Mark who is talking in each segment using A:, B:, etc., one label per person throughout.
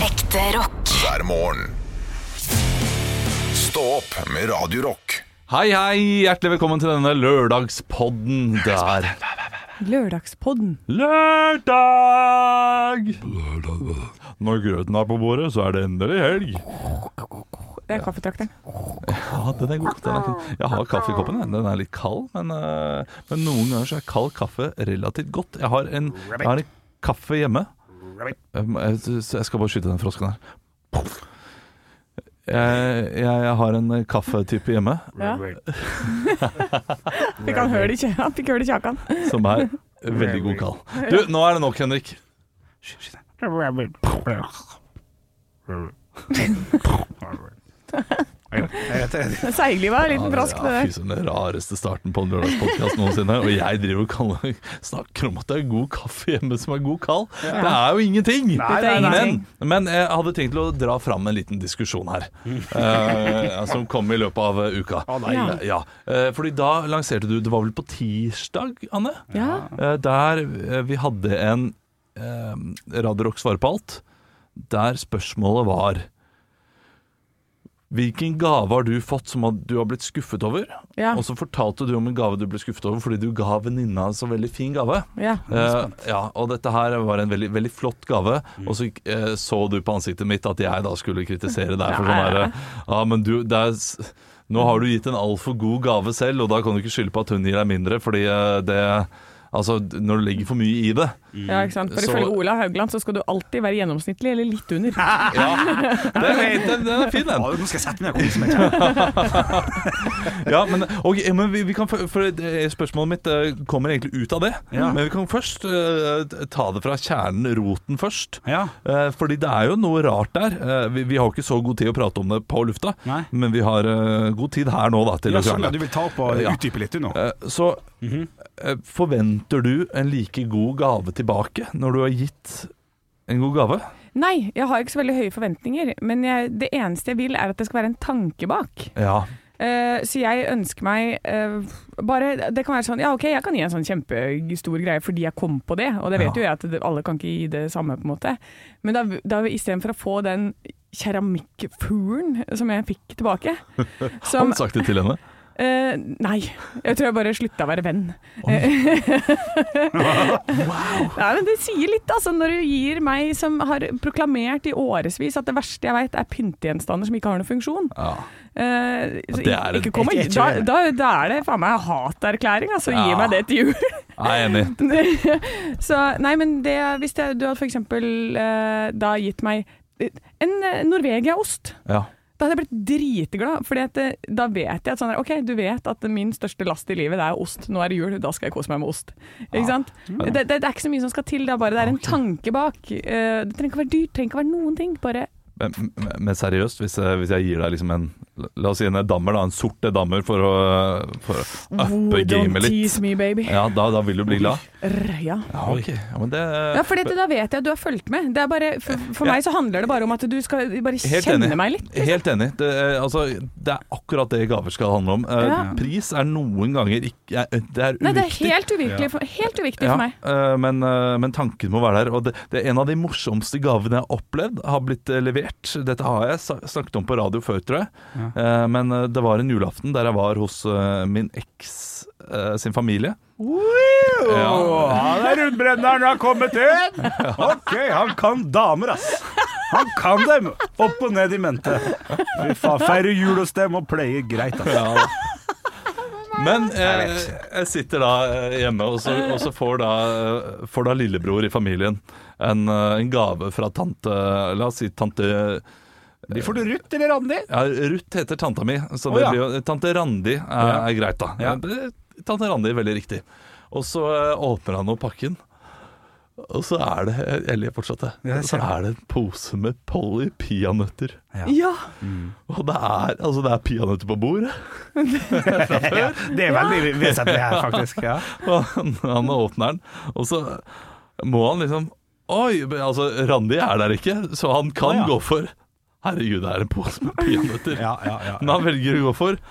A: Ekte rock.
B: hver morgen. Stå opp med Radio Rock.
C: Hei, hei, hjertelig velkommen til denne lørdagspodden der
D: Lørdagspodden.
C: Lørdag! Når grøten er på bordet, så er det endelig helg.
D: Det er kaffetrakteren.
C: Ja, den er god. Den er fin. Jeg har kaffe i koppen, jeg. den er litt kald, men, eh, men noen ganger så er kald kaffe relativt godt. Jeg har en, jeg har en kaffe hjemme. Um, Jeg jeg skal bare skyte den frosken her. Jeg, jeg, jeg har en kaffetype hjemme
D: Ja. Fikk han høl i kje- han fikk høl i kjakan.
C: som er veldig god kald. Du, nå er det nok, Henrik.
D: Seigliva er litt brask, det
C: Ja,
D: der.
C: fy søren, den rareste starten på en lørdagspodkast noensinne. Og jeg driver og kaller, snakker om at det er god kaffe hjemme som er god kald. Det er jo ingenting!
D: Dette er nei, nei.
C: Men, men jeg hadde tenkt til å dra fram en liten diskusjon her, eh, som kom i løpet av eh, uka.
D: Ja.
C: Eh, ja. Eh, fordi da lanserte du, det var vel på tirsdag, Anne?
D: Ja.
C: Eh, der eh, vi hadde en eh, Radio Rock svarer på alt, der spørsmålet var Hvilken gave har du fått som at du har blitt skuffet over?
D: Ja.
C: Og så fortalte du om en gave du ble skuffet over fordi du ga venninna en så veldig fin gave.
D: ja.
C: Eh, ja, og dette her var en veldig, veldig flott gave, og så eh, så du på ansiktet mitt at jeg da skulle kritisere deg for sånn
D: Nei.
C: herre Ja, men du, det er s- Nå har du gitt en altfor god gave selv, og da kan du ikke skylde på at hun gir deg mindre, fordi eh, det Altså, når du legger for mye i det.
D: ja, ikke sant. For
C: Så-
D: ifølge Ola Haugland så skal du alltid være gjennomsnittlig eller litt under.
C: Den er, den, den er fin, den.
E: Ja, nå skal jeg sette meg ned og kose meg. kjære.
C: Ja, men, og, ja, men vi, vi kan, for, for det- spørsmålet mitt eh, kommer egentlig ut av det.
E: Ja.
C: Men vi kan først eh, ta det fra kjernen, roten, først.
E: Ja.
C: Eh, Fordi det er jo noe rart der. Eh, Vi, vi har jo ikke så god tid å prate om det på lufta,
E: Nei.
C: men vi har eh, god tid her nå da, til å
E: Ja, sånn, Mhm. ja,
C: krangle.
E: du vil ta opp og
C: Ja.
E: utdype litt, du nå.
C: Eh, Så eh, forventer du en like god gave tilbake når du har gitt en god gave?
D: Nei, jeg har ikke så veldig høye forventninger. Men jeg, det eneste jeg vil, er at det skal være en tanke bak.
C: Ja.
D: Eh, så jeg ønsker meg eh, bare Det kan være sånn Ja, OK, jeg kan gi en sånn kjempestor greie fordi jeg kom på det, og det vet
C: Ja.
D: jo jeg at det, alle kan ikke gi det samme, på en måte. Men da, da istedenfor å få den keramikkfuglen som jeg fikk tilbake
C: Har
D: som,
C: du sagt det til henne?
D: eh, Nei. Jeg tror jeg bare slutta å være venn. Eh, Nei, men Det sier litt, altså. Når du gir meg, som har proklamert i årevis at det verste jeg veit, er pyntegjenstander som ikke har noen funksjon.
C: Ja.
D: Eh, så
C: det er en-
D: ikke kom og-
E: Jeg- jeg
D: da,
E: tror-
D: da, da er det faen meg haterklæring, altså.
C: Ja.
D: Gi meg det til jul.
C: Jeg er enig.
D: så nei, men det Hvis det, du hadde for eksempel eh, da gitt meg eh, en eh, Norvegia-ost
C: Ja.
D: da hadde jeg blitt dritglad, for da vet jeg at sånn der, OK, du vet at min største last i livet det er ost. Nå er det jul, da skal jeg kose meg med ost. Ikke sant? Det, det, det er ikke så mye som skal til, det er bare det er en tanke bak. Eh, Det trenger ikke å være dyrt, det trenger ikke å være noen ting. Bare
C: Men, men- men seriøst, hvis, jeg- hvis jeg gir deg liksom en La oss si en dammer, da. En sorte dammer for å, for å uppe
D: Ooh,
C: Ah, gamet
D: Don't
C: litt.
D: tease me, baby.
C: Ja, da, da vil du bli glad?
D: Rr, ja.
C: Ja, ok. Ja, men det
D: Ja, for da vet jeg at du har fulgt med. Det er bare, for for meg så handler det bare om at du skal bare kjenne meg litt.
C: Helt enig. Det, er- altså, det er akkurat det gaver skal handle om. Eh,
D: Ja.
C: Pris er noen ganger ikke er- Det er uviktig.
D: Nei, det er helt uvirkelig for, helt uviktig
C: Ja,
D: for meg.
C: eh, men, eh, men tanken må være der. Og det, det er en av de morsomste gavene jeg har opplevd, har blitt eh, levert. Dette har jeg sa- snakket om på radio før, tror jeg. Eh, Men eh, det var en julaften der jeg var hos eh, min eks eh, sin familie. Ja.
E: Ja, det er rundbrenneren har kommet inn! Ok, han kan damer, ass. Han kan dem! Opp og ned i mente. Fy faen, feirer jul hos dem og player greit, ass.
C: Ja. Men eh, jeg sitter da eh, hjemme, og så, og så får, da, eh, får da lillebror i familien en, eh, en gave fra tante La oss si tante ja,
E: De får du Ruth eller Randi?
C: Ruth heter tanta mi, så
E: Å,
C: det
E: ja.
C: blir jo Tante Randi er, er greit, da.
E: Ja.
C: Eh, Tante Randi er veldig riktig. Og så eh, åpner han opp pakken, og så er det Jeg ler fortsatt,
E: Ja,
C: jeg.
E: jeg ser
C: Så er det en pose med Polly peanøtter.
D: Ja,
C: Og det er, altså, det er peanøtter på bordet.
E: Ja, det er veldig vesentlig her, faktisk. Ja.
C: Og han, han åpner den, og så må han liksom Oi, men altså, Randi er der ikke, så han kan
E: Å, ja.
C: gå for Herregud, det er en pose med peanøtter.
E: Ja, ja, ja.
C: Men han velger å gå for Å,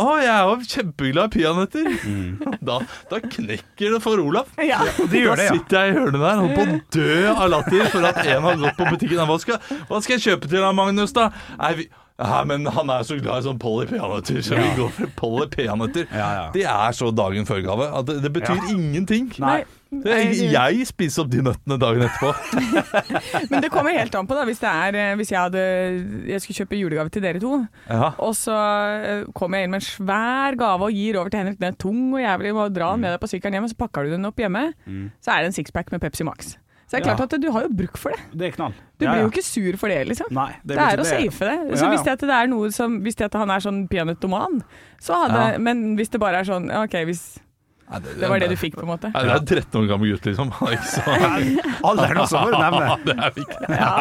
C: Å, jeg er jo kjempeglad i peanøtter!
E: Mm.
C: Da, da knekker det for Olaf.
D: Ja.
E: Og de gjør
C: Da
E: det, ja.
C: sitter jeg i hjørnet der og holder på å dø av latter for at en har gått på butikken. Hva skal, hva skal jeg kjøpe til han, Magnus, da? Nei, vi, ja, men han er så glad i sånn Polly peanøtter, så vi går for Polly peanøtter.
E: Ja, ja.
C: Det er så dagen før-gave. at Det, det betyr ingenting.
E: Nei.
C: Jeg, jeg spiser opp de nøttene dagen etterpå.
D: Men det kommer helt an på, da. Hvis, det er, eh, hvis jeg, hadde, jeg skulle kjøpe julegave til dere to,
C: Ja.
D: og så eh, kommer jeg inn med en svær gave og gir over til Henrik, den er tung og jævlig, og drar den med deg på sykkelen hjem, og så pakker du den opp hjemme, så er det en sixpack med Pepsi Max. Så det er klart
E: Mm. Ja.
D: at du har jo bruk for det.
E: Det er knall.
D: Du
E: Ja,
D: blir
E: ja.
D: jo ikke sur for det, liksom.
E: Nei,
D: Det,
E: betyr-
D: er å safe det. Så
E: Ja, ja.
D: Hvis det, at det er noe som, hvis det at han er sånn peanøttoman, så hadde
C: Ja.
D: Men hvis det bare er sånn OK, hvis
C: Nei,
D: det var det du fikk, på en måte.
C: Nei, det er en 13 år gammel gutt, liksom. Han er ikke så
E: Alle er noe som får nevne.
C: Det er vi ikke.
D: Ja,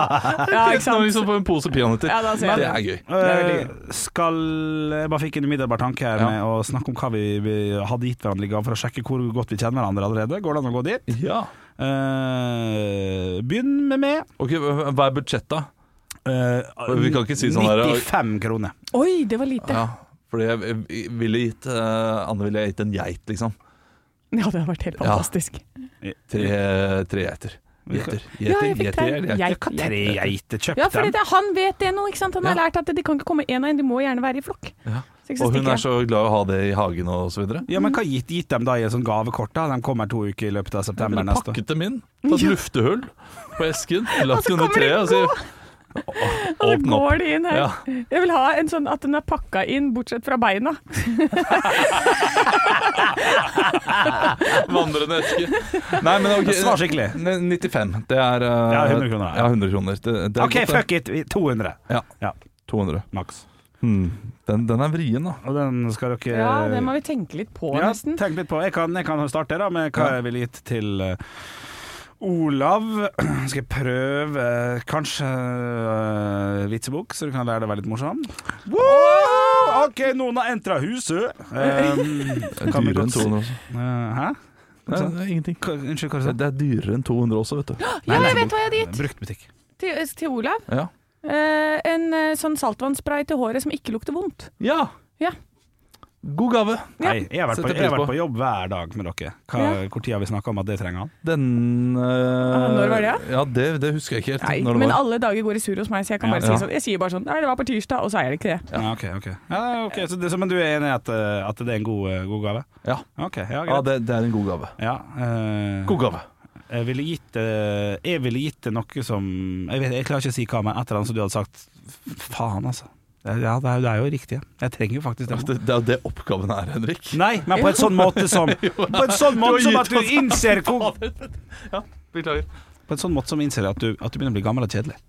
C: 13
D: ikke
C: år
D: sant?
C: liksom får en pose peanøtter.
D: Ja, da ser jeg
C: det
D: det.
C: er gøy.
D: veldig
E: Eh, skal Jeg bare fikk en umiddelbar tanke her
C: Ja.
E: med å snakke om hva vi, vi hadde gitt hverandre i gave, for å sjekke hvor godt vi kjenner hverandre allerede. Går det an å gå dit?
C: Ja.
E: Eh, begynn med meg.
C: Ok, Hva er budsjettet, da?
E: Eh,
C: Vi kan ikke si sånn der-
E: 95 kroner.
D: Oi, det var lite.
C: Ja, fordi jeg, jeg ville gitt eh, Anne ville gitt en geit, liksom.
D: Ja, det hadde vært helt
C: Ja.
D: fantastisk.
C: Tre, tre geiter. Geiter.
D: Ja,
C: Geiter,
D: jeg fikk
C: geiter,
D: det.
C: geiter.
D: Jeg-
E: Hva tre geiter kjøpte
D: Ja, for det, han vet det nå, ikke sant? Han har
C: Ja.
D: lært at de kan ikke komme én og én, de må gjerne være i flokk.
C: Ja.
D: Så ikke så
C: Og hun
D: stikker
C: er så glad i å ha det i hagen og så videre.
E: Ja, men hva gitt, gitt dem da i en sånn gavekort? da? De kommer to uker i løpet av
C: Jeg
E: september
C: ville
E: neste år.
C: pakket dem inn, tatt luftehull på esken, lagt
D: så
C: under
D: kommer de
C: treet og sier
D: jeg. Og så
C: Åpne opp.
D: går de inn her.
C: Ja.
D: Jeg vil ha en sånn at den er pakka inn, bortsett fra beina.
C: Vandrende eske. Nei, men ok.
E: Svar skikkelig.
C: Ne- 95. Det er uh,
E: Ja, 100 kroner, ja.
C: Ja, 100 kroner. Det, det er
E: OK,
C: godt, det.
E: fuck it! 200.
C: Ja.
E: Ja,
C: 200.
E: maks.
C: Hmm. Den, den er vrien, da.
E: Og den skal dere
D: Ja, det må vi tenke litt på,
E: Ja,
D: nesten.
E: tenk litt på. Jeg kan, jeg kan starte da med hva
C: Ja.
E: jeg ville gitt til eh, Olav. Skal jeg prøve eh, kanskje eh, vitsebok, så du kan lære deg å være litt morsom? Wow! OK, noen har entra huset. Um, kan vi
C: Dyrere enn
E: godt si
C: 200 også.
E: Eh, Hæ?
C: Nei, det er ingenting.
E: Hva- Unnskyld, hva
C: Det
E: sa du?
C: det er dyrere enn 200 også, vet du.
D: Ja,
E: Nei,
D: jeg
E: nei.
D: vet hva jeg hadde gitt
E: Bruktbutikk.
D: til, til Olav.
C: Ja.
D: Eh, en eh, sånn saltvannspray til håret som ikke lukter vondt.
C: ja.
D: Ja.
C: God gave.
D: Ja.
E: Nei, jeg har vært,
C: Setter
E: på, jeg har
C: pris på.
E: vært på jobb hver dag med dere. Hva, Hvor tid har vi snakka om at det trenger han?
C: Den eh,
D: når var det?
C: Ja, det, det husker jeg ikke helt.
D: Nei,
C: når det
D: men
C: var.
D: alle dager går i surr hos meg, så jeg kan
E: Ja.
D: bare
C: Ja.
D: si sånn. Jeg sier bare sånn Nei, det var på tirsdag, og så er det ikke det.
E: Ja, ok, ok. Ja, ok, så det, så, men du er enig i at, eh, at det er en god, eh, god gave?
C: Ja,
E: Ok, ja,
C: ja
E: greit.
C: det, det er en god gave.
E: Ja, eh,
C: God gave.
E: Jeg ville gitt eh, Jeg ville gitt det noe som Jeg, vet, jeg klarer ikke å si hva, men et eller annet som du hadde sagt f- Faen, altså. Det er- Ja, det er, det er jo riktig. ja. Jeg trenger jo faktisk det.
C: Det, det er jo det oppgaven er, Henrik.
E: Nei, men på en sånn måte som På en sånn måte som at du innser hvor
C: Ja, beklager.
E: På en sånn måte som innser at du, at du begynner å bli gammel og kjedelig.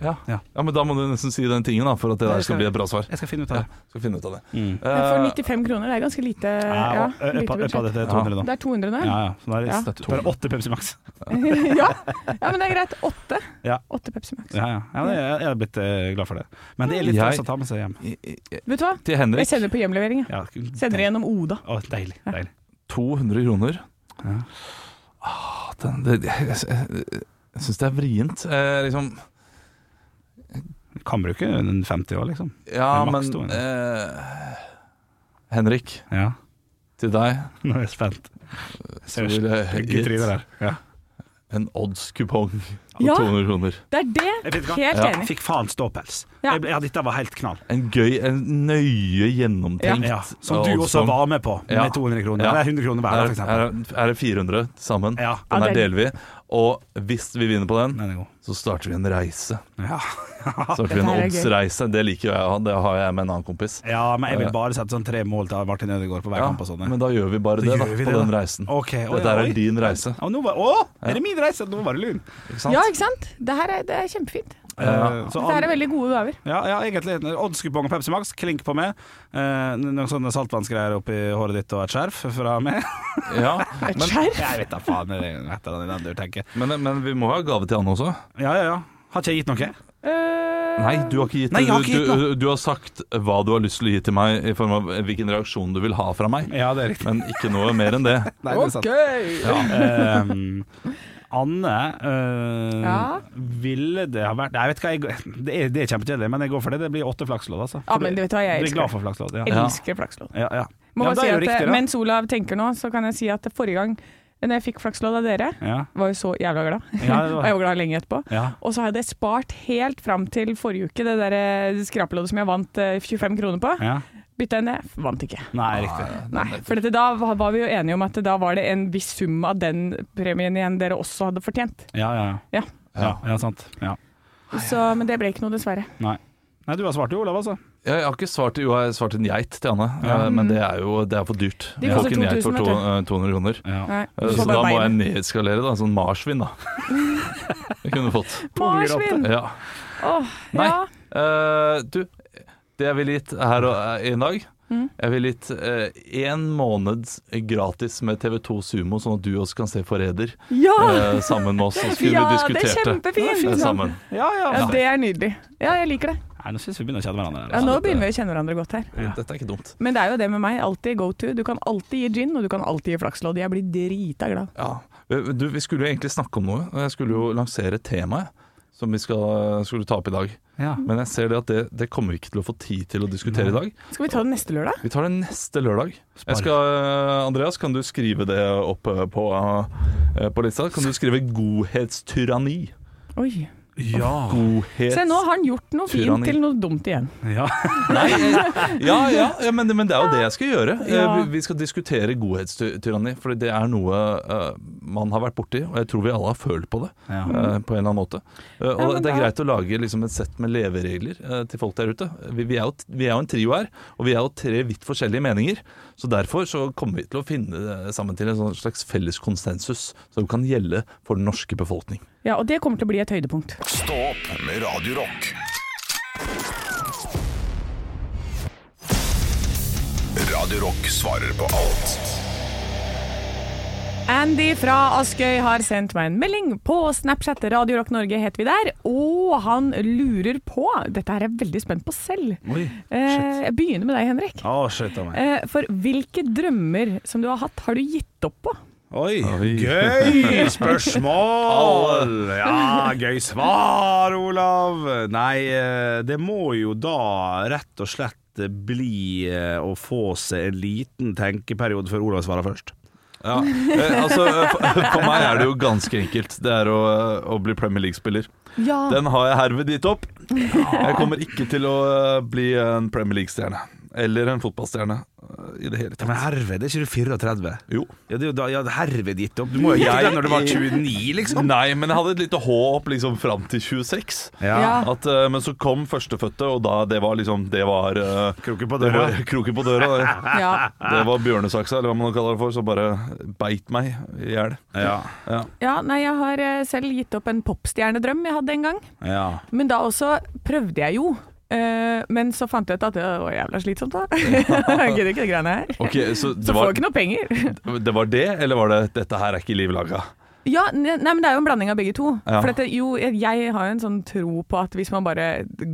C: Ja.
E: Ja.
C: ja, men da må du nesten si den tingen, da, for at det der skal bli et bra svar.
E: Jeg skal finne ut av
C: Ja,
E: det.
C: skal finne ut av det.
E: Mm.
D: For
C: Eh,
D: 95 kroner, det er ganske lite.
E: Eh, Ja,
D: Eh, Ja,
E: og ø-
D: lite
E: øppa øppa
D: budsjett.
E: dette til 200, da.
D: Det er 200 nå?
E: Ja, ja. Så da er
D: Ja.
E: det bare åtte Pepsi Max.
D: ja. ja, men det er greit. Åtte.
E: Ja.
D: Åtte Pepsi Max.
E: Ja, ja. ja det- jeg er blitt eh, glad for det. Men det er litt
C: Jeg-
E: stress å ta med seg hjem.
C: i- i-
D: Vet du hva?
C: til
D: Jeg
C: Henrik
D: sender på hjemlevering. jeg.
E: Ja,
D: Sender det gjennom Oda.
E: Å, deilig. deilig.
C: 200 kroner.
E: Ja.
C: Ah, den, det, jeg jeg, jeg, jeg syns det er vrient. Eh, liksom
E: Kan bruke en 50 år, liksom.
C: Ja,
E: Det er
C: men
E: maks to,
C: eh, Henrik,
E: Ja.
C: til deg
E: Nå er jeg spent.
C: så vil jeg
E: Ikke trynet
C: gitt
E: der. Ja.
C: en odds-kupong på
D: Ja.
C: 200 kroner.
D: Det er det!
E: Jeg vet ikke hva.
D: Helt
C: Ja.
E: Jeg
D: enig.
E: fikk faen ståpels.
D: Ja.
E: Jeg ble- Ja, dette var helt knall.
C: En gøy, en nøye gjennomtenkt
E: Ja, som du også var med på, med
C: Ja.
E: 200 kroner.
C: Ja.
E: Det er 100 kroner hver, for
C: Er,
E: eksempel.
C: er, er det 400 sammen?
E: Ja.
C: Den
D: Ja,
C: her
D: det er-
C: deler vi. Og hvis vi vinner på den,
E: Den er god.
C: så starter vi en reise.
E: Ja.
C: Starter vi en
D: dette her er gøy.
C: oddsreise. Det liker jo jeg å ha. Det har jeg med en annen kompis.
E: ja, men jeg vil bare sette sånn tre mål til Martin Ødegaard på hver
C: Ja,
E: kamp og sånn.
C: men da gjør vi bare
E: Da
C: det, da,
E: gjør vi
C: på
E: det,
C: den
E: da.
C: reisen.
E: Ok, oi,
C: Dette her
E: oi.
C: er din reise,
E: Å, nå var, å, er det min reise? Nå var det lun.
C: ikke sant?
D: Ja, ikke sant? Det her er, det er kjempefint.
C: Ja.
E: Eh, så
D: Dette her er veldig gode gaver.
E: Ja, ja egentlig. Oddskupong og Pepsi Max, klink på meg. Eh, noen sånne saltvannsgreier oppi håret ditt og et skjerf fra meg.
C: Ja.
D: Et
C: Men,
D: skjerf.
E: Jeg vet da faen det er et eller annet i den du tenker.
C: men, men vi må ha gave til han også.
E: Ja, ja, ja. Har ikke jeg gitt noe?
D: Eh,
C: Nei, du har ikke gitt
E: Nei, jeg har ikke
C: du,
E: gitt
C: du, du har sagt hva du har lyst til å gi til meg, i form av hvilken reaksjon du vil ha fra meg.
E: Ja, det er riktig.
D: Eh,
C: Men ikke noe mer enn det.
E: Nei, det er sant.
D: OK!
E: Ja. Eh, Anne øh,
D: Ja.
E: Ville det ha vært Nei, vet du hva, jeg, det er, det er kjempekjedelig, men jeg går for det. Det blir åtte flakslodd, altså.
D: Ja, men det vet du hva, jeg
E: Du er glad
D: elsker.
E: for flakslodd, ja.
C: Ja.
D: Elsker flakslodd.
E: ja, ja.
D: Må
E: ja,
D: bare
E: da
D: si
E: er
D: at
E: det jo
D: eh,
E: riktig, da.
D: Mens Olav tenker nå, så kan jeg si at forrige gang eh, når jeg fikk flakslodd av dere,
E: Ja,
D: var jo så jævla glad.
E: ja,
D: Og
E: det var,
D: jeg var glad lenge etterpå.
E: ja.
D: Og så hadde jeg spart helt fram til forrige uke det der eh, skrapeloddet som jeg vant eh, 25 kroner på.
E: ja.
D: Bytta jeg ned, vant ikke.
E: Nei, riktig.
D: Nei, for dette, da var var vi jo enige om at da var det en viss sum av den premien igjen dere også hadde fortjent.
E: Ja, ja,
D: Ja.
E: ja. ja sant. Ja.
D: Så, men det ble ikke noe, dessverre.
E: Nei. Nei, du har svart jo, Olav, altså.
C: Jeg, jeg har ikke svart Jo, jeg har svart en geit til Anne,
E: Ja.
C: eh, men det er jo det er for dyrt.
D: De
C: Jeg får
D: koster
C: ikke en geit for
D: 2000,
C: to,
D: vet
C: eh, 200 kroner.
E: Ja.
D: Nei,
C: Eh,
D: du
C: Så
D: får
C: da
D: bare
C: må jeg
D: bein.
C: nedskalere, da. Sånn marsvin, da. Jeg kunne fått.
D: Marsvin!
C: Ja.
D: Åh,
C: Nei.
D: ja.
C: Eh, du, det jeg ville gitt her og, eh, i dag
D: Mm.
C: Jeg ville gitt én måned gratis med TV2 Sumo, sånn at du også kan se Forræder
D: Ja!
C: eh, sammen med oss. Så skulle
D: ja,
C: vi
D: det er
C: diskutert det, eh,
D: kjempefint!
C: sammen.
E: Ja, ja.
D: Ja, det er nydelig. Ja, jeg liker det.
E: Nei, nå syns vi begynner å kjenne hverandre. her,
D: Ja,
E: altså.
D: nå begynner vi å kjenne hverandre godt her.
E: Ja.
C: Dette er ikke dumt.
D: Men det er jo det med meg. Alltid go to. Du kan alltid gi gin, og du kan alltid gi flakslodd. Jeg blir drita glad.
C: Ja. Du, vi skulle jo egentlig snakke om noe. og Jeg skulle jo lansere temaet som vi skal, skulle ta opp i dag.
E: Ja.
C: Men jeg ser det at det, det kommer vi ikke til å få tid til å diskutere i dag.
D: Skal vi ta det neste lørdag?
C: Vi tar det neste lørdag.
E: Spar.
C: Jeg skal, eh, Andreas, kan du skrive det opp eh, på, eh, på lista? Kan du skrive 'godhetstyranni'?
D: Oi.
E: Ja.
C: Godhets...
D: Se, nå har han gjort noe fint
C: Tyranni.
D: til noe dumt igjen.
E: ja.
C: Ja, ja, ja men, men det er jo det jeg skal gjøre. Eh,
D: Ja.
C: Vi, vi skal diskutere godhetstyranni, for det er noe eh, man har vært borti, og jeg tror vi alle har følt på det.
E: Ja.
C: eh, på en eller annen måte. Eh, og
D: Ja, men
C: det, det er
D: da-
C: greit å lage liksom, et sett med leveregler eh, til folk der ute. Vi, vi, er jo, vi er jo en trio her, og vi er jo tre vidt forskjellige meninger. Så derfor så kommer vi til å finne eh, sammen til en sånn slags felles konsensus som kan gjelde for den norske befolkning.
D: Ja, og det kommer til å bli et høydepunkt.
B: Stå opp med Radio Rock. Radio Rock svarer på alt
D: Andy fra Askøy har sendt meg en melding på Snapchat. Radio Rock Norge heter vi der. Og han lurer på Dette her er jeg veldig spent på selv.
E: Oi.
D: Eh, jeg begynner med deg, Henrik.
E: Å, skøyt av meg.
D: Eh, for hvilke drømmer som du har hatt, har du gitt opp på?
E: Oi.
C: Oi.
E: Gøy spørsmål! Ja, gøy svar, Olav. Nei, eh, det må jo da rett og slett bli eh, å få seg en liten tenkeperiode før Olav svarer først.
C: Ja, eh, altså, eh, for, for meg er det jo ganske enkelt. Det er å, eh, å bli Premier League-spiller.
D: Ja.
C: Den har jeg herved gitt opp. Jeg kommer ikke til å eh, bli en Premier League-stjerne. Eller en fotballstjerne eh, i det hele
E: Ja, men
C: tatt.
E: herved, er ikke du 34?
C: Jo.
E: Ja, det er jo da, ja, herved gitt opp. Du må jo
C: Jeg-
E: gjøre det når du var 29, liksom.
C: Nei, men jeg hadde et lite håp liksom fram til 26.
D: Ja.
C: At, eh, men så kom førstefødte, og da det var liksom Det var eh,
E: Kroken på
C: det
E: døra.
C: var kroken på døra. Det,
D: ja.
C: det var bjørnesaksa, eller hva man kaller det for, som bare beit meg i hjel.
E: Ja.
C: Ja.
D: ja. Nei, jeg har eh, selv gitt opp en popstjernedrøm jeg hadde en gang.
E: ja.
D: Men da også prøvde jeg jo. Eh, men så fant jeg ut at det var jævla slitsomt, da. Jeg Gidder ikke de greiene her.
C: Ok, så det
D: Så får
C: var,
D: jeg ikke noe penger.
C: det var det, eller var det 'dette her er ikke liv laga'?
D: Ja, ne- nei, men det er jo en blanding av begge to.
C: Ja.
D: For dette, jo, jeg jeg har jo en sånn tro på at hvis man bare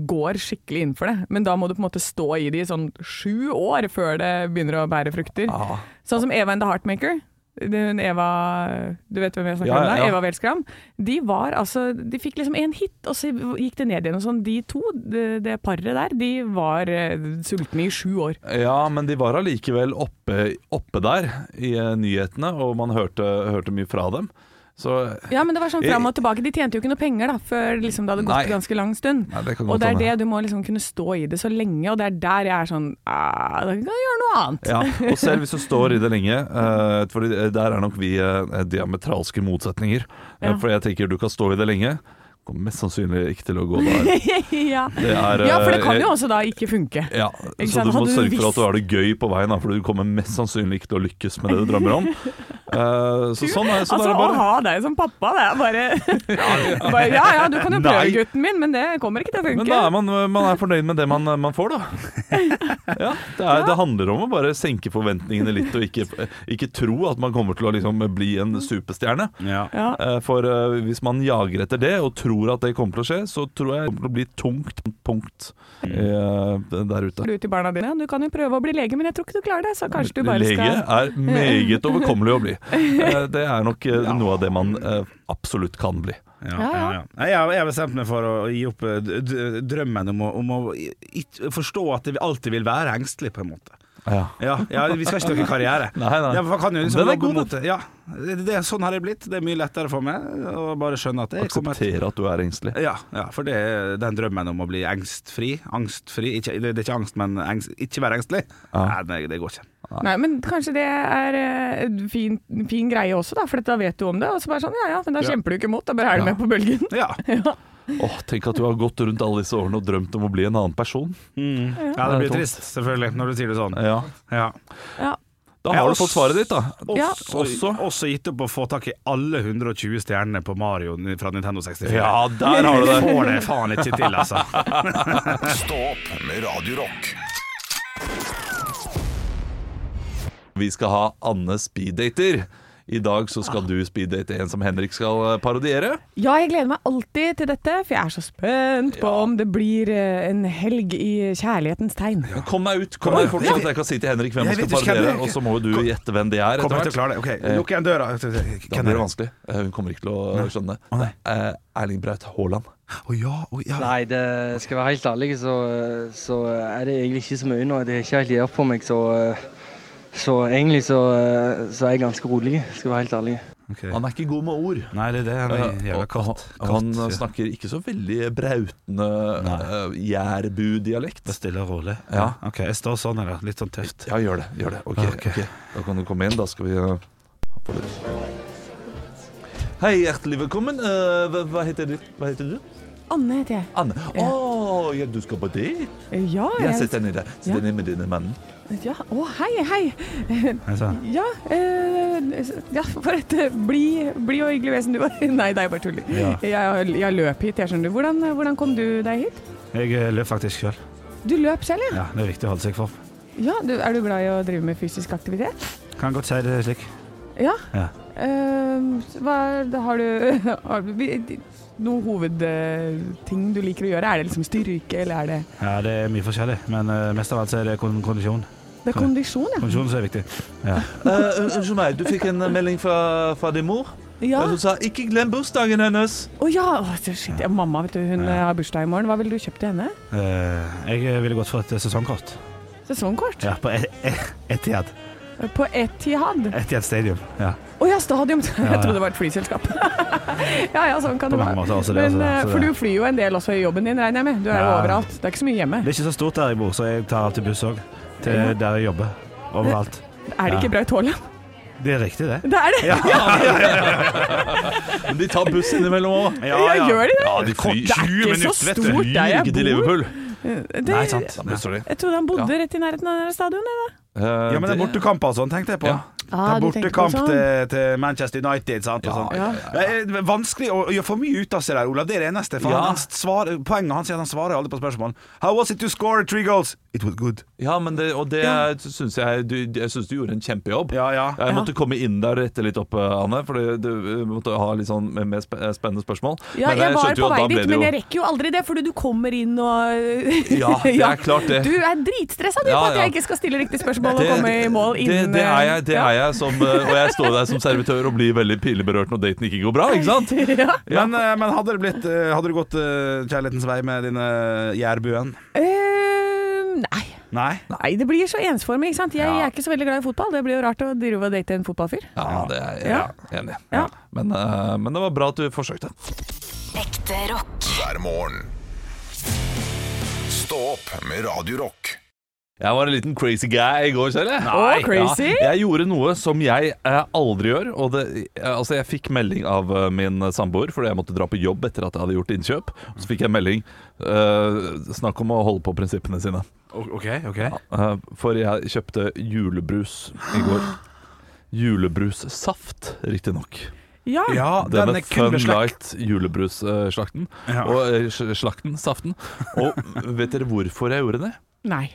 D: går skikkelig inn for det, men da må du på en måte stå i det i sånn sju år før det begynner å bære frukter.
C: Ah.
D: Sånn som Eva and the Heartmaker. Hun Eva Du vet hvem jeg snakker
C: Ja,
D: om? da?
C: ja, ja.
D: Eva Welskram. De var altså De fikk liksom én hit, og så gikk det ned igjen. Og sånn. De to, det, det paret der, de var eh, sultne i sju år.
C: Ja, men de var allikevel oppe, oppe der i eh, nyhetene, og man hørte, hørte mye fra dem. Så
D: Ja, men det var sånn fram og tilbake. De tjente jo ikke noe penger da, før liksom, det hadde gått
C: Nei.
D: ganske lang stund.
C: Nei, det kan
D: Og
C: godt
D: det er
C: hende.
D: det, du må liksom kunne stå i det så lenge, og det er der jeg er sånn "Ah, Da kan jeg gjøre noe annet.
C: Ja, og selv hvis du står i det lenge, eh, Fordi der er nok vi eh, diametralske motsetninger. Eh,
D: Ja.
C: For jeg tenker du kan stå i det lenge. Kommer mest sannsynlig ikke til å gå der.
D: ja.
C: Det er, eh,
D: ja, for det kan jo
C: eh,
D: også da ikke funke.
C: ja,
D: Ikke
C: så
D: sant?
C: du må
D: Hadde du
C: sørge for
D: visst-
C: at du har det gøy på veien, da, for du kommer mest sannsynlig ikke til å lykkes med det du drømmer om. Eh, så sånn er, sånn er
D: altså,
C: det
D: å
C: bare.
D: ha deg som pappa, det er bare, bare Ja ja, du kan jo prøve,
C: Nei.
D: gutten min, men det kommer ikke til å funke.
C: Men da er man, man er fornøyd med det man, man får, da. Ja, det, er, det handler om å bare senke forventningene litt, og ikke, ikke tro at man kommer til å liksom bli en superstjerne.
E: ja.
D: ja.
C: Eh, For eh, hvis man jager etter det og tror at det kommer til å skje, så tror jeg det kommer til å bli tungt punkt eh, der ute.
D: Du til barna dine, du kan jo prøve å bli lege, men jeg tror ikke du klarer det, så kanskje du bare
C: Lege
D: skal
C: er meget overkommelig å bli. bli. Eh, Det er nok eh, noe av det man eh, absolutt kan bli.
E: Ja,
D: Ja,
E: ja,
D: ja.
E: ja. Nei, Jeg jeg har bestemt meg for å gi opp eh, d- d- drømmen om å, om å i- i- forstå at jeg alltid vil være engstelig, på en måte.
C: Ja.
E: Ja, ja vi skal ikke snakke karriere.
C: Nei, nei.
E: Ja, for man kan jo liksom
C: Den er
E: jobbe
C: god,
E: mot det. Ja, det, det, sånn har jeg blitt. Det er mye lettere for meg å bare skjønne at jeg kommer til
C: Akseptere at du er engstelig.
E: ja, ja, for det er den drømmen om å bli engstfri. Angstfri. Ikke, det, det er ikke angst, men engst, ikke være engstelig.
C: Ja.
E: Nei, det, det går ikke.
D: Nei, men kanskje det er eh, en fin, fin greie også, da, for da vet du om det. Og så bare sånn, ja ja, men da
E: Ja.
D: kjemper du ikke mot, da bare er du
C: Ja.
D: med på bølgen.
E: Ja.
D: ja.
C: Åh, Tenk at du har gått rundt alle disse årene og drømt om å bli en annen person.
E: ja, det blir trist, selvfølgelig, når du sier det sånn.
C: Ja.
E: Ja.
D: ja.
C: Da
E: Ja,
C: har du
E: også-
C: fått svaret ditt, da.
D: Ja.
E: Også, også. gitt opp å få tak i alle 120 stjernene på Mario fra Nintendo 64.
C: Ja, der har du det!
E: Får det faen ikke til, altså.
B: Stå opp med Radio Rock.
C: Vi skal ha Anne speeddater. I dag så skal du speeddate en som Henrik skal eh, parodiere.
D: Ja, jeg gleder meg alltid til dette, for jeg er så spent på om det blir eh, en helg i kjærlighetens tegn.
C: Men Kom deg ut, kom deg fort, sånn at jeg kan si til Henrik hvem
E: Jeg
C: han skal
E: vet ikke hvem
C: parodiere,
E: det er.
C: og så må jo du gjette hvem det er
E: Kommer
C: etter
E: jeg til å
C: hvert.
E: klare det? Ok, Lukk igjen døra.
C: Da
E: Hvem
C: blir det vanskelig. Eh, Hun kommer ikke til å skjønne det. Eh, Erling Braut Haaland.
E: Å ja, å ja.
A: Nei, det skal jeg være helt ærlig, så, så er det egentlig ikke så mye nå. Det er ikke helt gjør på meg, så, så egentlig så, så er jeg ganske rolig, skal jeg være helt ærlig.
E: Ok.
C: Han er ikke god med ord.
E: Nei, det er det. Han er
C: Eh,
E: jævla
C: og-
E: katt.
C: og Han
E: Katt,
C: eh,
E: ja.
C: snakker ikke så veldig brautende
E: Nei.
C: uh, jærbu-dialekt.
E: Det er stille og rolig.
C: Ja.
E: Ok, jeg står sånn her, da. litt sånn tøft.
C: Ja, gjør det. gjør det Ok,
E: Ja, ok.
C: ok. Da kan du komme inn. Da skal vi eh, ha på lyd. Hei, hjertelig velkommen. Eh, hva, hva, heter du? hva heter du?
D: Anne heter jeg. Eh,
C: Anne. Å, ja, du skal på det?
D: Ja,
C: Ja,
D: jeg,
C: sett deg ned der. Sett
D: Ja.
C: deg ned med denne mannen.
D: ja. Å, hei, hei.
E: Jeg sa,
D: Ja, eh, ja for et eh, blid bli og hyggelig vesen du var. Nei, det er bare tull.
E: Ja.
D: Jeg, jeg løp hit, jeg skjønner. Hvordan, hvordan kom du deg hit?
E: Jeg eh, løp faktisk sjøl.
D: Du løp selv, ja?
E: Ja, det er viktig å holde seg i form.
D: ja du, er du glad i å drive med fysisk aktivitet?
E: Kan godt si det slik.
D: Ja.
E: Ja.
D: Eh, hva, har du, har du vi- noen hovedting du liker å gjøre? Er det liksom styrke, eller er det
E: Ja, det er mye forskjellig, men eh, mest av alt så er det kon kondisjon.
D: Det er kondisjon, ja.
E: Kondisjon som er viktig. Ja.
C: Eh, Unnskyld meg, du fikk en eh, melding fra, fra din mor.
D: Ja.
C: Hun sa 'ikke glem bursdagen hennes'.
D: Å ja! Å, shit, ja. Mamma vet du, hun eh, har bursdag i morgen. Hva ville du kjøpt til henne?
E: Eh, jeg ville gått for et sesongkort.
D: Sesongkort?
E: Ja, på et- et- Etihad.
D: På Etihad.
E: Etihad Stadium. Ja.
D: Å ja, stadion!
E: ja.
D: Jeg trodde det var et flyselskap. ja ja, sånn kan
E: På
D: det
E: mange
D: være.
E: måter også det,
D: Men,
E: altså,
D: eh,
E: så
D: for
E: det-
D: du flyr jo en del også i jobben din, regner jeg med. Du er jo
E: Ja.
D: overalt. Det er ikke så mye hjemme.
E: Det er ikke så stort der jeg bor, så jeg tar alltid buss òg. Til
D: Ja.
E: der jeg jobber. Overalt.
D: Er det ikke Braut Haaland?
E: Det er riktig, det.
D: Det er det! Ja,
C: Men de tar buss innimellom òg.
D: gjør de det?
C: Ja, de flyr.
D: Det er ikke så stort der jeg
C: til
D: bor.
C: Liverpool.
D: Det,
E: Nei, sant.
C: Da blusser de.
D: Jeg trodde han bodde rett i nærheten av det der stadionet. da.
C: Eh,
E: Ja, men det er bortekamper og sånn, tenkte jeg på.
C: Ja.
E: Det
D: Ah,
E: er
D: du tenker på
E: bortekamp
D: sånn.
E: til, til Manchester United, sant. Og sånn.
D: Ja.
E: Det er Vanskelig å å gjøre for mye ut av seg der, Olav. Det er det eneste. For
C: Ja.
E: han svar, poenget hans er at han svarer aldri på spørsmål. How was it to score three goals? It was good.
C: Ja, men det, og det syns jeg du, Jeg synes du gjorde en kjempejobb.
E: Ja, ja.
C: Jeg
D: Ja.
C: måtte komme inn der og rette litt opp, eh, Anne, for det- du eh, måtte ha litt sånn mer- mer spe- eh, spennende spørsmål.
D: Ja,
C: Men
D: jeg var
C: skjønte jo
D: på
C: at
D: vei
C: da ble
D: dit,
C: det jo-
D: men jeg rekker jo aldri det, fordi du kommer inn og
C: Ja, det er klart det.
D: Du er dritstressa du
C: Ja,
D: på at
C: ja.
D: jeg ikke skal stille riktig spørsmål og komme i mål
C: det,
D: innen
C: det er jeg, det
D: ja.
C: er jeg som, eh, og jeg står der som servitør og blir veldig pinlig berørt når daten ikke går bra, ikke sant?
E: Men, eh, men hadde det blitt eh, Hadde du gått eh, kjærlighetens vei med dine jærbuen?
D: Eh, nei.
E: Nei?
D: nei, det blir så ensformig. ikke sant? Jeg,
E: Ja.
D: er ikke så veldig glad i fotball. Det blir jo rart å drive og date en fotballfyr.
C: Ja, det er jeg
D: Ja.
C: enig i.
D: Ja.
C: Men, eh, men det var bra at du forsøkte.
F: Ekte rock.
B: hver morgen. Stå opp med Radio Rock.
C: Jeg var en liten crazy guy i går selv. jeg.
D: Å, crazy?
C: Ja, jeg gjorde noe som jeg eh, aldri gjør. Og det, eh, altså jeg fikk melding av eh, min samboer fordi jeg måtte dra på jobb etter at jeg hadde gjort innkjøp. Og så fikk jeg melding eh, Snakk om å holde på prinsippene sine.
E: OK, OK.
C: Eh, for jeg kjøpte julebrus i går. Julebrussaft, riktignok.
D: Ja.
E: Ja, den
C: Denne
E: er kun
C: Fun
E: med slekk.
C: Light julebruslakten.
E: Ja.
C: Og eh, slakten, saften. Og vet dere hvorfor jeg gjorde det?
D: Nei.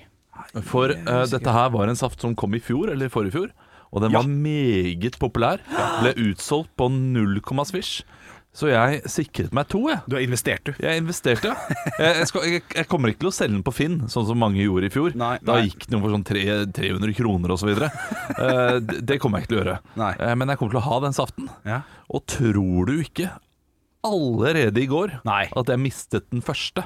C: For eh, dette her var en saft som kom i fjor, eller i forrige fjor. Og den
E: Ja.
C: var meget populær. Ble utsolgt på null komma svisj. Så jeg sikret meg to, jeg.
E: Du har investert, du.
C: Jeg investerte. Jeg, jeg, skal, jeg, jeg kommer ikke til å selge den på Finn, sånn som mange gjorde i fjor.
E: Nei,
C: da
E: nei.
C: gikk den jo for sånn tre, 300 kroner osv. Uh, det, det kommer jeg ikke til å gjøre.
E: Nei.
C: Eh, men jeg kommer til å ha den saften.
E: Ja.
C: Og tror du ikke, allerede i går,
E: Nei.
C: at jeg mistet den første.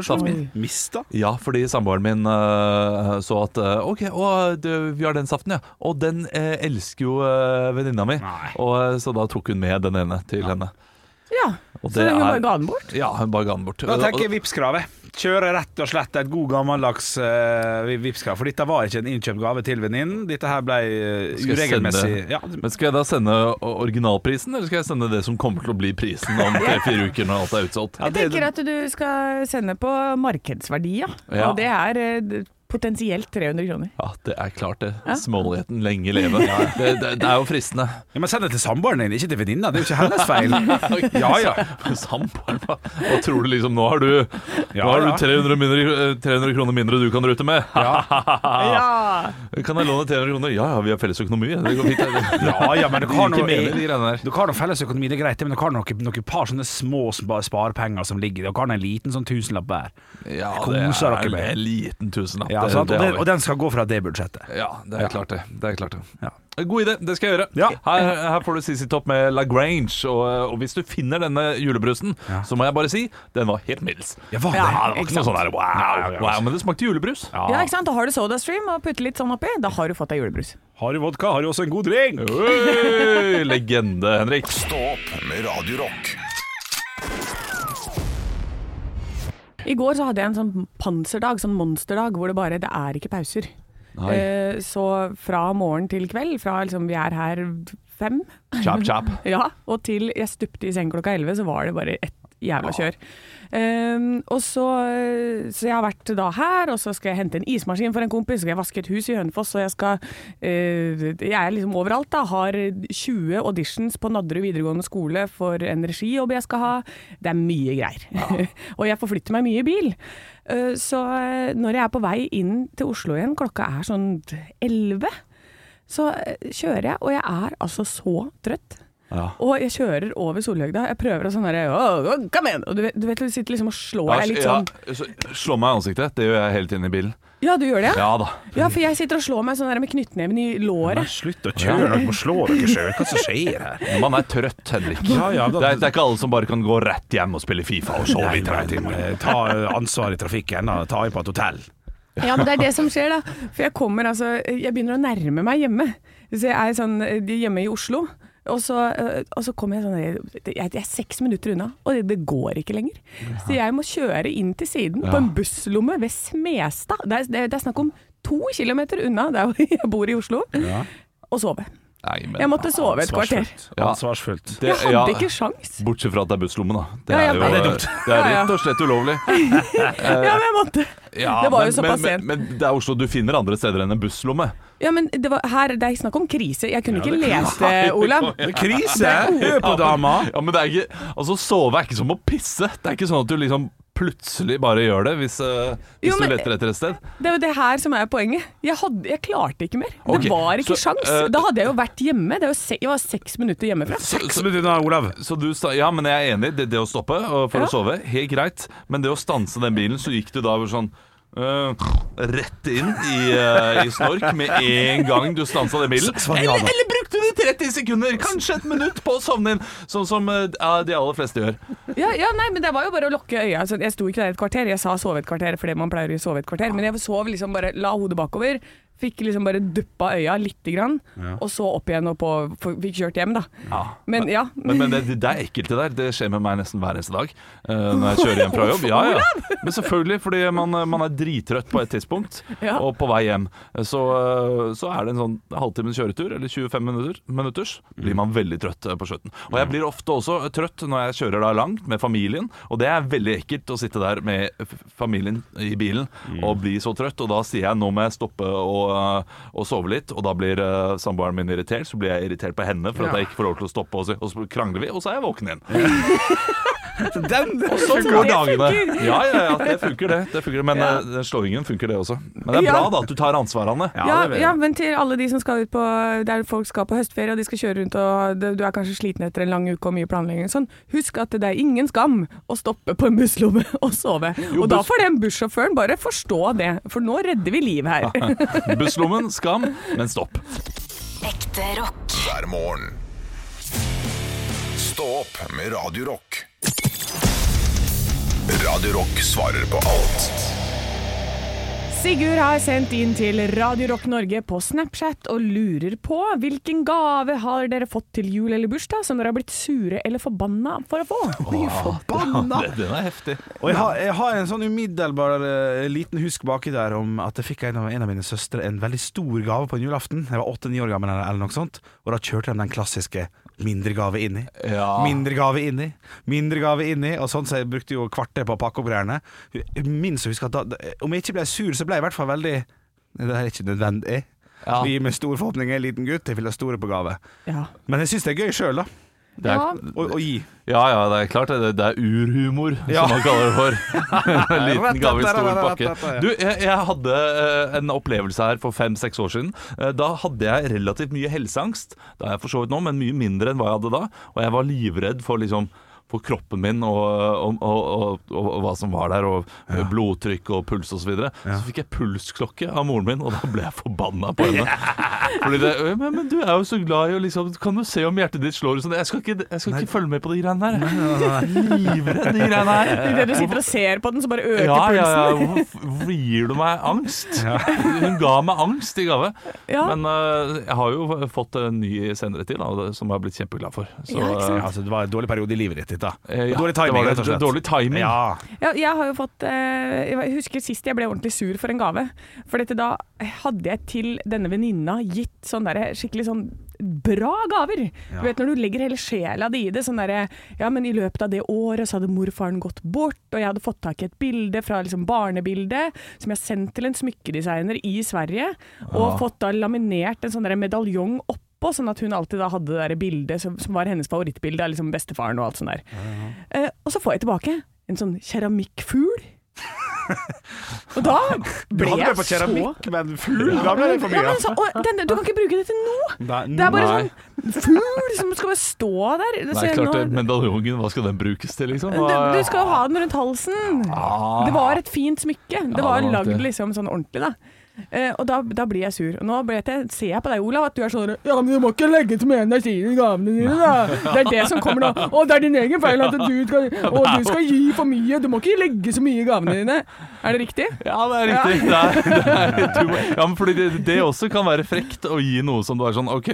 C: Saften.
E: Mista?
C: Ja, fordi samboeren min eh, så at eh, OK, å, du, vi har den saften, ja. Og den eh, elsker jo eh, venninna mi.
E: Nei.
C: Og, eh, så da tok hun med den ene til henne.
D: Ja.
C: Og
D: Så
C: det
D: hun
C: er-
D: bare ga den bort?
C: Ja, hun bare ga den bort.
E: Da
C: Og-
E: tenker jeg Vipps-kravet. Kjøre rett og slett et god gammeldags uh, Vipps-krav. For dette var ikke en innkjøpt gave til venninnen. Dette her ble eh,
C: Skal jeg sende-
E: uregelmessig ja,
C: Men skal jeg da sende o- originalprisen, eller skal jeg sende det som kommer til å bli prisen om tre-fire uker når alt er utsolgt?
E: ja,
D: Jeg tenker at du skal sende på markedsverdi, ja.
C: Ja.
D: Og det er eh, potensielt 300 kroner.
C: Ja, det er klart det. Småligheten lenge leve. Det, det, det er jo fristende.
E: ja, Men send det til samboeren din, ikke til venninna. Det er jo ikke hennes feil. Ja, ja.
C: Samboeren, hva hva tror du liksom Nå har du, nå har du
E: ja.
C: 300, mindre, 300 kroner mindre du kan rute med.
D: Ja.
C: Kan jeg låne 300 kroner? Ja ja, vi har felles økonomi. Det går fint. det.
E: Ja, ja, men dere har
C: Det gir ikke mening, de
E: noe,
C: greiene der.
E: dere har noe felles økonomi, det er greit, det, men dere har noen noe par sånne små spa- sparepenger som ligger Dere har en liten sånn tusenlapp hver.
C: Ja, det
E: Koser dere
C: er
E: med.
C: en liten tusenlapp.
E: Ja,
C: det-
E: sant?
C: det
E: Og,
C: har
E: den,
C: vi.
E: og den skal gå fra det budsjettet.
C: Ja, det er klart det. det, er klart det.
E: Ja.
C: God idé, det skal jeg gjøre.
E: Ja.
C: Her, her får du CC Topp med Lagrange. Og, og hvis du finner denne julebrusen,
E: Ja.
C: så må jeg bare si den var helt middels.
E: Ja, var det?
C: det var ikke noe sånn der, wow, wow, men det smakte julebrus.
D: ja, ikke sant. Da har du SodaStream og putter litt sånn oppi. Da har du fått deg julebrus.
E: Har du vodka, har du også en god drink.
C: Oi, legende, Henrik.
B: Stå opp med Radio Rock.
D: I går så hadde jeg en sånn panserdag, sånn monsterdag, hvor det bare det er ikke pauser. Eh, så fra morgen til kveld, fra liksom vi er her fem,
C: Chap, chap.
D: ja, og til jeg stupte i seng klokka elleve, så var det bare ett jævla kjør. Ehm, og så, eh, så jeg har vært da her, og så skal jeg hente en ismaskin for en kompis, så skal jeg vaske et hus i Hønefoss, og jeg skal eh, Jeg er liksom overalt, da. Har 20 auditions på Nadderud videregående skole for en regijobb jeg skal ha. Det er mye greier. og jeg forflytter meg mye i bil. Eh, så eh, når jeg er på vei inn til Oslo igjen, klokka er sånn elleve, så eh, kjører jeg, og jeg er altså så trøtt. Og jeg kjører over Solhøgda. Jeg prøver å sånn derre «Åh, åh, Kom igjen! Og du vet, du vet du sitter liksom og slår deg litt sånn.
C: så slå meg i ansiktet. Det gjør jeg hele tiden i bilen.
D: Ja, du gjør det? Ja,
C: Ja da.
D: ja for jeg sitter og slår meg sånn der med knyttneven i låret.
E: Slutt å kjøre, dere må slå dere sjøl. Hva som skjer her?
C: Man er trøtt, Henrik.
E: Ja, ja, da-
C: det, er, det er ikke alle som bare kan gå rett hjem og spille Fifa og sove i tre
E: Nei,
C: timer.
E: men, eh, Ta eh, ansvar i trafikken, da. ta inn på et hotell.
D: Ja, men det er det som skjer, da. For jeg kommer altså Jeg begynner å nærme meg hjemme. Så jeg er sånn eh, hjemme i Oslo. Og så, eh, og så kommer jeg sånn jeg, jeg er seks minutter unna, og det, det går ikke lenger. Så jeg må kjøre inn til siden på en busslomme ved Smestad. Det er, det, er- det er snakk om to kilometer unna der hvor jeg bor i Oslo. Og sove.
C: Nei, men-
D: Jeg måtte sove et kvarter.
E: Ansvarsfullt.
C: Ja.
E: Ansvarsfullt.
C: Det-
D: Jeg
C: ja.
D: hadde ikke sjans.
C: Bortsett fra at det er busslomme, da. Det
D: Ja,
C: er,
D: ja,
C: jo,
D: men-
E: det er dumt.
C: det er rett og slett ulovlig.
D: Ja, men jeg måtte.
C: Ja,
D: det var
C: men-
D: jo såpass
C: men,
D: sent.
C: men, men det er Oslo du finner andre steder enn en busslomme.
D: Ja, men det var her Det er snakk om krise. Jeg kunne ikke lese det, Olav.
E: Det er krise! Hør på dama!
C: Ja, men det er ikke, altså Sove er ikke som å pisse. Det er ikke sånn at du liksom plutselig bare gjør det hvis, eh, hvis
D: Jo, men-
C: du leter etter et sted.
D: Det er jo det her som er poenget. Jeg, hadde, jeg klarte ikke mer.
C: Ok,
D: det var ikke
C: så,
D: sjans.
C: eh,
D: Da hadde jeg jo vært hjemme. Det er jo se, jeg var seks minutter hjemmefra.
C: Så,
E: Seks
C: så,
E: minutter unna, Olav.
C: så du sta Ja, men jeg er enig. Det, det å stoppe og for
D: Ja.
C: å sove, helt greit. Men det å stanse den bilen, så gikk du da sånn eh, rett inn i, eh, i snork med en gang du stansa den bilen.
E: Svariana.
C: Eller, eller brukte du 30 sekunder, kanskje et minutt, på å sovne inn, sånn som eh, ja, de aller fleste gjør.
D: Ja, ja, nei, men det var jo bare å lukke øya. Altså, jeg sto ikke der et kvarter. Jeg sa sove et kvarter fordi man pleier å sove et kvarter. Men jeg sov liksom bare La hodet bakover. Fikk liksom bare duppa øya lite grann, og så opp igjen og på Fikk kjørt hjem, da. Men ja.
C: Men, men det, det er ekkelt det der. Det skjer med meg nesten hver eneste dag eh, når jeg kjører hjem fra jobb. Ja, ja. Men selvfølgelig, fordi man, man er drittrøtt på et tidspunkt,
D: Ja.
C: og på vei hjem. Så, eh, så er det en sånn halvtimes kjøretur, eller 25 minutter, minutters, blir man veldig trøtt eh, på slutten. Og
E: Mm.
C: jeg blir ofte også eh, trøtt når jeg kjører da langt med familien, og det er veldig ekkelt å sitte der med f- familien i bilen
E: Mm.
C: og bli så trøtt. Og da sier jeg nå må jeg stoppe og, eh, og sove litt, og da blir eh, samboeren min irritert, så blir jeg irritert på henne for at jeg ikke får lov til å stoppe, og så, og så krangler vi, og så er jeg våken igjen.
E: Den
C: Sånn
E: funker.
C: går dagene. Ja, ja, ja, det funker, det. det funker, det. men eh, den slåingen funker, det også. Men det er bra
D: Ja.
C: da at du tar ansvar, Anne.
E: Ja,
D: Ja,
E: det vet
D: ja,
E: jeg.
D: men til alle de som skal ut på Der folk skal på høstferie og de skal kjøre rundt og det- du er kanskje sliten etter en lang uke og mye planlegging og sånn, husk at det er ingen skam å stoppe på en busslomme og sove. og da
C: buss-
D: får den bussjåføren bare forstå det, for nå redder vi liv her.
C: Busslommen, skam, men stopp.
F: Ekte rock.
B: hver morgen. Stå opp med Radio Rock. Radio Rock svarer på alt
D: Sigurd har sendt inn til Radio Rock Norge på Snapchat og lurer på hvilken gave har dere fått til jul eller bursdag som dere har blitt sure eller forbanna for å få?
E: Banna!
C: Det- Den er heftig.
E: Og jeg har, jeg har en sånn umiddelbar eh, liten husk baki der om at jeg fikk en av, en av mine søstre en veldig stor gave på en julaften. Jeg var åtte-ni år gammel eller, eller noe sånt, og da kjørte de den klassiske mindre gave inni.
C: Ja.
E: Mindre gave inni, mindre gave inni, og sånn så jeg brukte jo kvarter på å pakke opp greiene. Jeg Minst å huske at da, da- om jeg ikke ble sur, så ble jeg i hvert fall veldig Det her er ikke nødvendig.
C: Ja.
E: Vi med store forhåpninger, en liten gutt, jeg vil ha store på gave.
D: Ja.
E: Men jeg syns det er gøy sjøl, da.
C: Det er,
D: Ja.
E: Å, å gi.
C: ja, ja, det er klart. Det, det er urhumor,
E: Ja.
C: som man kaller det for. En liten gave i stor pakke. Du, jeg, jeg hadde eh, en opplevelse her for fem-seks år siden. Eh, da hadde jeg relativt mye helseangst. Det har jeg for så vidt nå, men mye mindre enn hva jeg hadde da. Og jeg var livredd for liksom for kroppen min og, og, og, og, og, hva som var der, og blodtrykk og puls osv. Så, videre. så fikk jeg pulsklokke av moren min, og da ble jeg forbanna på henne. Fordi det, men, men du er jo så glad i å liksom Kan du se om hjertet ditt slår? og Sånn. Jeg skal, ikke, jeg skal ikke følge med på de greiene der. Jeg er Livredd de greiene her.
D: Idet du sitter og ser på den, så bare øker
C: Ja, ja, ja.
D: pulsen.
C: Hvorfor hvorfor gir du meg angst? Hun ga meg angst i gave.
D: Ja.
C: Men eh, jeg har jo fått en ny senere til, da, som jeg har blitt kjempeglad for. Så,
D: Ja, ikke sant?
E: Altså, det var en dårlig periode i livet ditt, da.
C: eh, ja,
E: dårlig
C: det
E: timing,
C: var det.
E: rett og slett.
C: Dårlig timing.
E: Ja.
D: Ja, jeg har jo fått eh, Jeg husker sist jeg ble ordentlig sur for en gave. For dette da hadde jeg til denne venninna gitt sånn derre skikkelig sånn bra gaver. Du vet når du legger hele sjela di i det. Sånn derre Ja, men i løpet av det året så hadde morfaren gått bort, og jeg hadde fått tak i et bilde fra liksom barnebildet som jeg har sendt til en smykkedesigner i Sverige, og fått da laminert en sånn derre medaljong oppå, Sånn at hun alltid da hadde det der bildet som, som var hennes favorittbilde av liksom bestefaren og alt sånt der. Eh, og så får jeg tilbake en sånn keramikkfugl. og da
E: Du
D: ble
E: hadde
D: jeg
E: med på
D: så
E: keramikk, men fugl, da ble det for
D: ja,
E: mye. altså.
D: men så, og denne, Du kan ikke bruke det til noe!
E: Nei,
D: Det er bare
E: nei.
D: sånn fugl som skal bare stå der.
C: Det
D: Så
C: er
D: jeg
C: klart,
D: nå-
C: det, Medaljongen, hva skal den brukes til, liksom?
D: du,
C: Hva-
D: du skal jo ha den rundt halsen.
C: Ah.
D: Det var et fint smykke.
C: det
D: Det var
C: var nok
D: lagd
C: det.
D: liksom sånn ordentlig, da. Eh, og da, da blir jeg sur. Og nå ble jeg, ser jeg på deg, Olav, at du er sånn Ja, men du må ikke legge til mer energi i gavene dine, da. Det er det som kommer nå. Å, det er din egen feil at du skal Å, du skal gi for mye. Du må ikke legge så mye i gavene dine. Er det riktig?
C: Ja, det er riktig. Det er, det er, du, må- ja, men fordi det, det også kan være frekt å gi noe som du er sånn OK,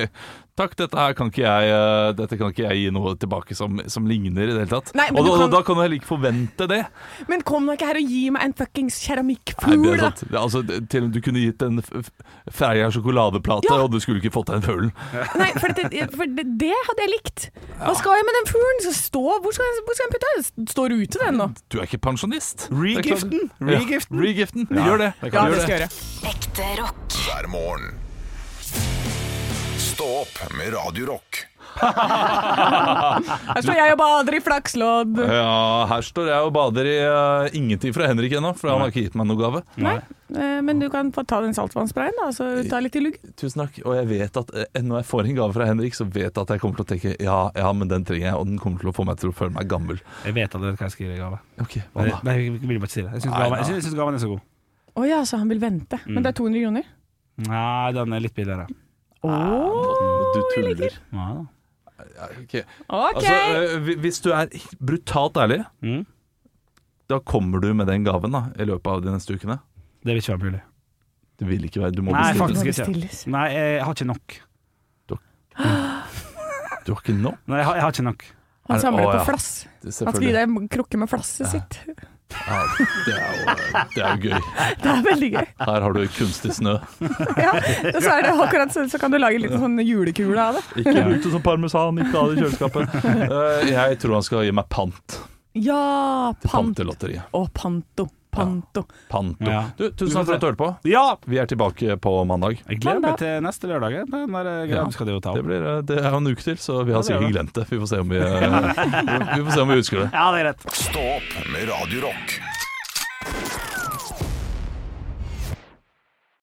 C: takk, dette her kan ikke jeg, eh, dette kan ikke jeg gi noe tilbake som, som ligner i det hele tatt.
D: Nei, men
C: og
D: du
C: da,
D: kan-
C: da kan du heller ikke forvente det.
D: Men kom nå ikke her og gi meg en fuckings
C: Nei, det
D: keramikkfugl,
C: er
D: da.
C: sant. Det, er altså, det- til og med du kunne gitt en f- f- Freia sjokoladeplate,
D: Ja.
C: og du skulle ikke fått deg en fugl.
D: Nei, for, det, for det, det hadde jeg likt. Hva skal jeg med den fuglen? Skal stå- Hvor skal jeg, hvor skal jeg putte den? Står ute den nå?
C: Du er ikke pensjonist. Det
E: Regiften!
C: er klart-
E: Regiften.
C: Ja, regiften. Gjør det.
D: Ja,
C: Gjør
D: det skal jeg gjøre.
F: Ekte rock.
B: hver morgen. Stå opp med Radio Rock.
D: Her står Altså, jeg og bader i flakslodd.
C: Ja, her står jeg og bader i eh, ingenting fra Henrik ennå, for han har ikke gitt meg noe gave.
D: Nei, eh, men du kan få ta den saltvannsprayen, da, så ta litt i lugg.
C: Tusen takk. Og jeg vet at eh, når jeg får en gave fra Henrik, så vet jeg at jeg kommer til å tenke ja, ja, men den trenger jeg, og den kommer til å få meg til å føle meg gammel.
E: Jeg vet allerede hva jeg skal gi deg i gave.
C: Ok, hva
E: Nei,
C: da?
E: nei, jeg vil bare ikke si det. Jeg syns
C: Nei,
E: gaven,
C: da.
E: jeg synes- jeg synes gaven er så god.
D: Å ja, så han vil vente.
C: Mm.
D: Men det er 200 kroner.
E: Nei, den er litt billigere.
C: Du tuller.
E: Ja, da.
C: Ja, ok.
D: Ah, OK!
C: Altså, eh, hvi- hvis du er brutalt ærlig,
E: Mm.
C: da kommer du med den gaven da, i løpet av de neste ukene.
E: Det vil ikke være mulig.
C: Det vil ikke være, Du må
E: Nei,
C: bestille.
E: faktisk
D: Det må
E: ikke.
D: bestilles.
E: Nei, jeg har ikke nok.
C: Du har ikke nok.
E: Nei, jeg har, jeg har ikke nok.
C: er
D: han
C: det-
D: samler
C: å, ja.
D: på flass. Han skal gi
C: Selvfølgelig.
D: deg en krukke med flasset sitt.
C: Ja, det, er jo, det er jo gøy.
D: Det er veldig gøy.
C: Her har du kunstig snø.
D: Ja, og så, er det akkurat, så, så kan du lage en liten sånn julekule av det.
C: Ikke bruk det som parmesan, ikke ha det i kjøleskapet. Eh, Jeg tror han skal gi meg pant
D: Ja,
C: til
D: pant.
C: Pantelotteriet.
D: Og panto. Panto.
C: Panto.
E: Ja.
C: Du, tusen takk for at du hørte på.
E: Ja!
C: Vi er tilbake på mandag.
E: Jeg gleder
D: Mandag.
E: meg til neste lørdag. jeg. Den der eh, greia
C: Ja.
E: skal de jo ta
C: Det,
E: opp.
C: blir, eh, det er jo en uke til, så vi har
E: det er
C: sikkert
E: det.
C: glemt det. Vi får se om vi, eh, vi, får se om vi husker det.
E: Ja, det er rett.
B: Stå opp med Radio Rock.